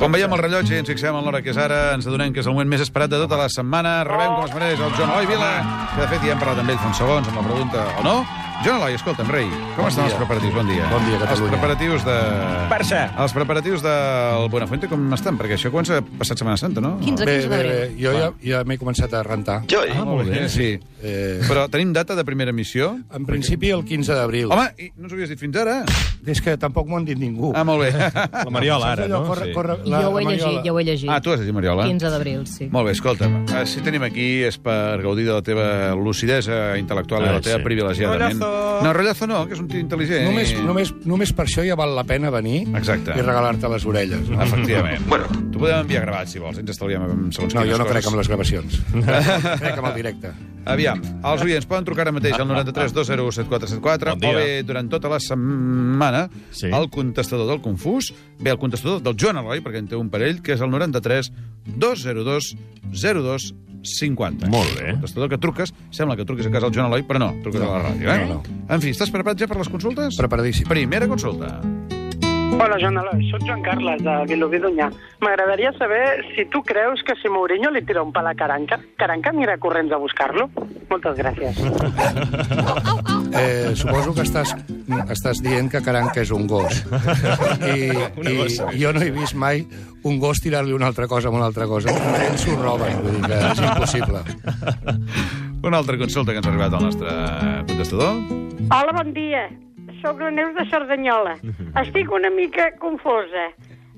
Quan veiem el rellotge i ens fixem en l'hora que és ara, ens adonem que és el moment més esperat de tota la setmana. Rebem, com es mereix, el Joan Eloi Vila, que de fet ja hem parlat amb ell fa uns segons amb la pregunta o no. Joan Eloi, escolta'm, rei, com estan els preparatius? Bon dia. Bon dia, Els Catalunya. preparatius de... Barça. Els preparatius del Buenafuente com estan? Perquè això comença passat Setmana Santa, no? 15, Bé, 15 bé, d'abril. bé, jo ja, ja m'he començat a rentar. Jo, Ah, molt bé. Sí. Eh, Però tenim data de primera missió? en principi, el 15 d'abril. Home, i no ens ho havies dit fins ara? És que tampoc m'ho han dit ningú. Ah, molt bé. La Saps Mariola, ara, allò, no? corre- Sí. corre- la- Jo ho he la Mariola. llegit, jo ho he llegit. Ah, tu has dit Mariola. 15 d'abril, sí. Molt bé, escolta'm, eh, si tenim aquí és per gaudir de la teva lucidesa intel·lectual i de Ah, la teva sí. privilegiada ment. Rollazo. No, rollazo no, que és un tio intel·ligent. Només, i- només, només per això ja val la pena venir Exacte. i regalar-te les orelles. Ah, No, Efectivament. Bueno. T'ho podem enviar gravat, si vols, ens estalviem amb segons no quines jo no crec coses. en les gravacions. crec en el directe. Aviam, els oients poden trucar ara mateix al 93 201 7474 Bon dia. o bé durant tota la setmana Sí. el contestador del Confús, bé, el contestador del Joan Eloi, perquè en té un parell, que és el 93 202 02 50. Molt bé. El contestador que truques, sembla que truques a casa al Joan Eloi, però no, truques a la ràdio, eh? No, no. En fi, estàs preparat ja per les consultes? Preparadíssim. Primera consulta. Hola, Joan Eloi. Soc Joan Carles, de Vilobí d'Onyà. M'agradaria saber si tu creus que si Mourinho li tira un pal a Caranca, Caranca anirà corrents a buscar-lo? Moltes gràcies. Eh, suposo que estàs, estàs dient que Caranca és un gos. I, Una i gossa. jo no he vist mai un gos tirar-li una altra cosa amb una altra cosa. Ells ho roben, vull dir que és impossible. Una altra consulta que ens ha arribat al nostre contestador. Hola, bon dia. Soc la Neus de Cerdanyola. Estic una mica confosa.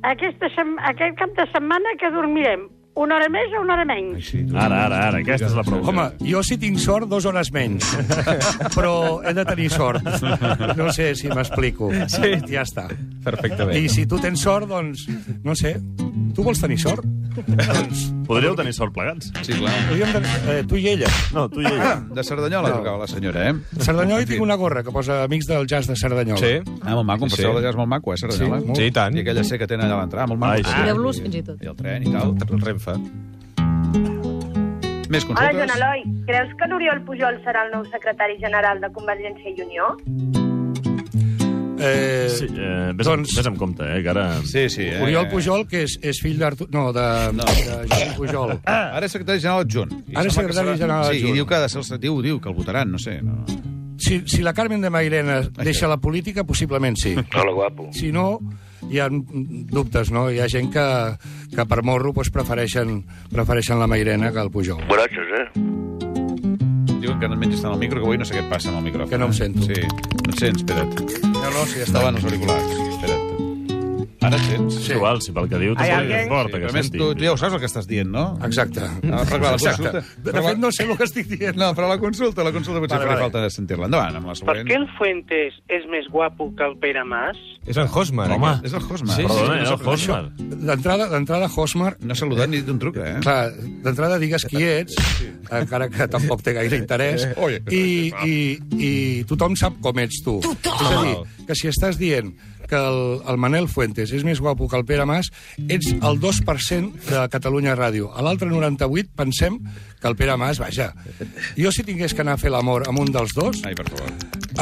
Aquesta sem... Aquest cap de setmana que dormirem? Una hora més o una hora menys? Sí. Ara, ara, ara, aquesta és la pregunta. Home, jo si tinc sort, dues hores menys. Però he de tenir sort. No sé si m'explico. Sí. Ja està. perfectament. I si tu tens sort, doncs, no sé, tu vols tenir sort? Doncs, Podríeu tenir sort plegats. Sí, clar. podríem tenir... Eh, tu i ella. No, tu i ella. De Cerdanyola trucava la senyora, eh? Cerdanyola, hi tinc una gorra que posa Amics del Jazz de Cerdanyola. Ah, molt maco, un Sí, festival sí. de jazz molt maco, eh, Cerdanyola? Sí, molt. Sí, i tant. I aquella C que tenen allà a l'entrada, molt maco. Ai, sí. Mireu-los fins i tot. I el tren i tal. El Renfe. Més consultes? Hola, Joan Eloi. Creus que l'Oriol Pujol serà el nou secretari general de Convergència i Unió? Eh, Sí, eh, vés, doncs... Doncs- vés amb compte, eh, que ara... Sí, sí. Eh? Oriol Pujol, que és, és fill d'Artur... No, de, no. de Jordi Pujol. Ah! Ara és secretari general adjunt. I Ara és sembla que secretari general Sí, adjunt. i diu que ha de ser el... se- Diu, diu que el votaran, no sé. No. Si, si la Carmen de Mairena deixa la política, possiblement sí. Hola, guapo. Si no, hi ha dubtes, no? Hi ha gent que, que per morro doncs, prefereixen, prefereixen la Mairena que el Pujol. Borratxos, eh? Diuen que no menys estan al micro, que avui no sé què et passa amb el micròfon. Que no em eh? sento. Sí, no et sents, espera't. No, no, sí, Davant els auriculars, espera't. Ara et sents? Sí. Igual, si pel que diu, Ai, t'ho alguien? importa Però que a més, senti. tu, tu ja ho saps el que estàs dient, no? Exacte. Ah, però clar, la Exacte. consulta... De, de fet, no sé el que estic dient. No, però la consulta, la consulta potser Vale, faré vale. falta de sentir-la. Endavant, amb la Per següent. què el Fuentes és més guapo que el Pere Mas? És en Hosmer. Home, És eh, el Hosmer. Sí, Perdona, eh, era el Això- Hosmer. D'entrada, d'entrada, Hosmer... No ha saludat ni dit un truc, eh? Clar, d'entrada digues qui ets, encara que tampoc té gaire interès, Oi. i, i, i tothom sap com ets tu. Tothom! És a dir, que si estàs dient que el, el Manel Fuentes és més guapo que el Pere Mas, ets el 2% de Catalunya Ràdio. A l'altre 98 pensem que el Pere Mas, vaja, jo si tingués que anar a fer l'amor amb un dels dos, Ai, per favor.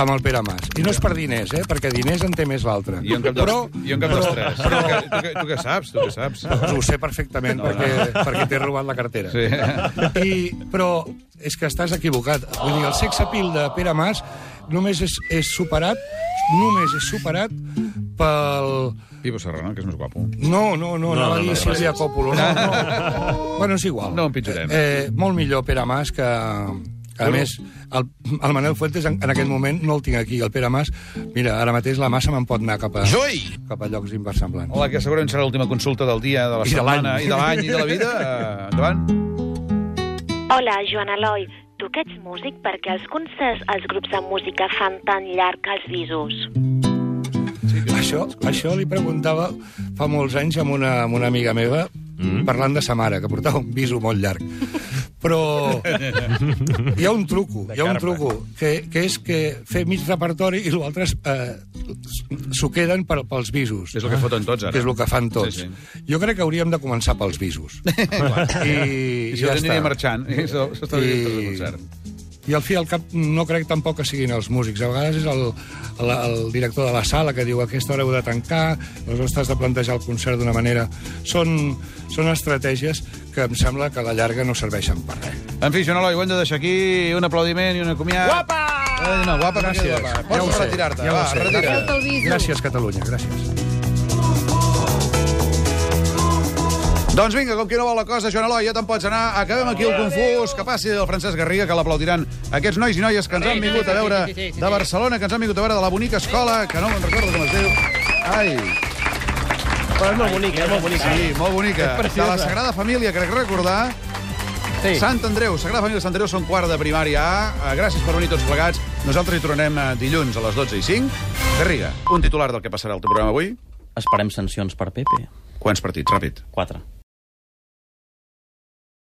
amb el Pere Mas. I no és per diners, eh? perquè diners en té més l'altre. I en cap dels, Però, i en cap dels tres. Però, tu, que, tu, que, tu que saps, tu que saps. Doncs ho sé perfectament, no, perquè, no. perquè t'he robat la cartera. Sí. I, però és que estàs equivocat. Vull dir, el sex appeal de Pere Mas només és, és superat només és superat pel... Pipo Serrano, que és més guapo. No, no, no, no anava no, a dir no, Sílvia Còpolo. No, no. bueno, és igual. No empitjorem. Eh, molt millor Pere Mas que... que A Bueno. més, el, el Manel Fuentes en, en aquest moment no el tinc aquí. El Pere Mas, mira, ara mateix la massa me'n pot anar cap a, Joi! cap a llocs inversemblants. La que segurament serà l'última consulta del dia, de la I de l'any. setmana, i de l'any, i de la vida. Eh, Endavant. Hola, Joan Eloi. Tu que ets músic, per què els concerts els grups de música fan tan llarg els visos? Això, això li preguntava fa molts anys amb una, amb una amiga meva, mm. parlant de sa mare, que portava un viso molt llarg. Però hi ha un truco, hi ha un truco, que, que és que fer mig repertori i l'altre es- eh, s'ho queden per, pels visos, És el que foten tots, ara. que és el que fan tots. Sí, Jo crec que hauríem de començar pels visos. I, I I si ja ja aniria està. marxant, i s'està I... I, tot el concert. i al fi al cap no crec tampoc que siguin els músics. A vegades és el, el, el director de la sala que diu a aquesta hora heu de tancar, aleshores t'has de plantejar el concert d'una manera... Són, són estratègies que em sembla que a la llarga no serveixen per res. En fi, Joan Eloi, ho hem de deixar aquí. Un aplaudiment i un acomiat. Guapa! Eh, no, guapa, gràcies. Gràcies. Guapa. Ja ho Pots sé, retirar-te. ja ho va, sé. retira't. Gràcies, Catalunya, gràcies. Doncs vinga, com que no vol la cosa, Joan Eloi, ja te'n pots anar. Acabem aquí el confús. Que passi el Francesc Garriga, que l'aplaudiran aquests nois i noies que ens han vingut a veure de Barcelona, que ens han vingut a veure de la bonica escola, que no me'n recordo com es diu. Ai, Però és molt bonic, eh? Molt bonic. sí, molt bonica. De la Sagrada Família, crec recordar. Sí. Sant Andreu, Sagrada Família de Sant Andreu, són quart de primària A. Eh, Gràcies per venir tots plegats. Nosaltres hi tornem eh, dilluns a les 12 i 5. Garriga, un titular del que passarà al teu programa avui. Esperem sancions per Pepe. Quants partits? Ràpid. Quatre.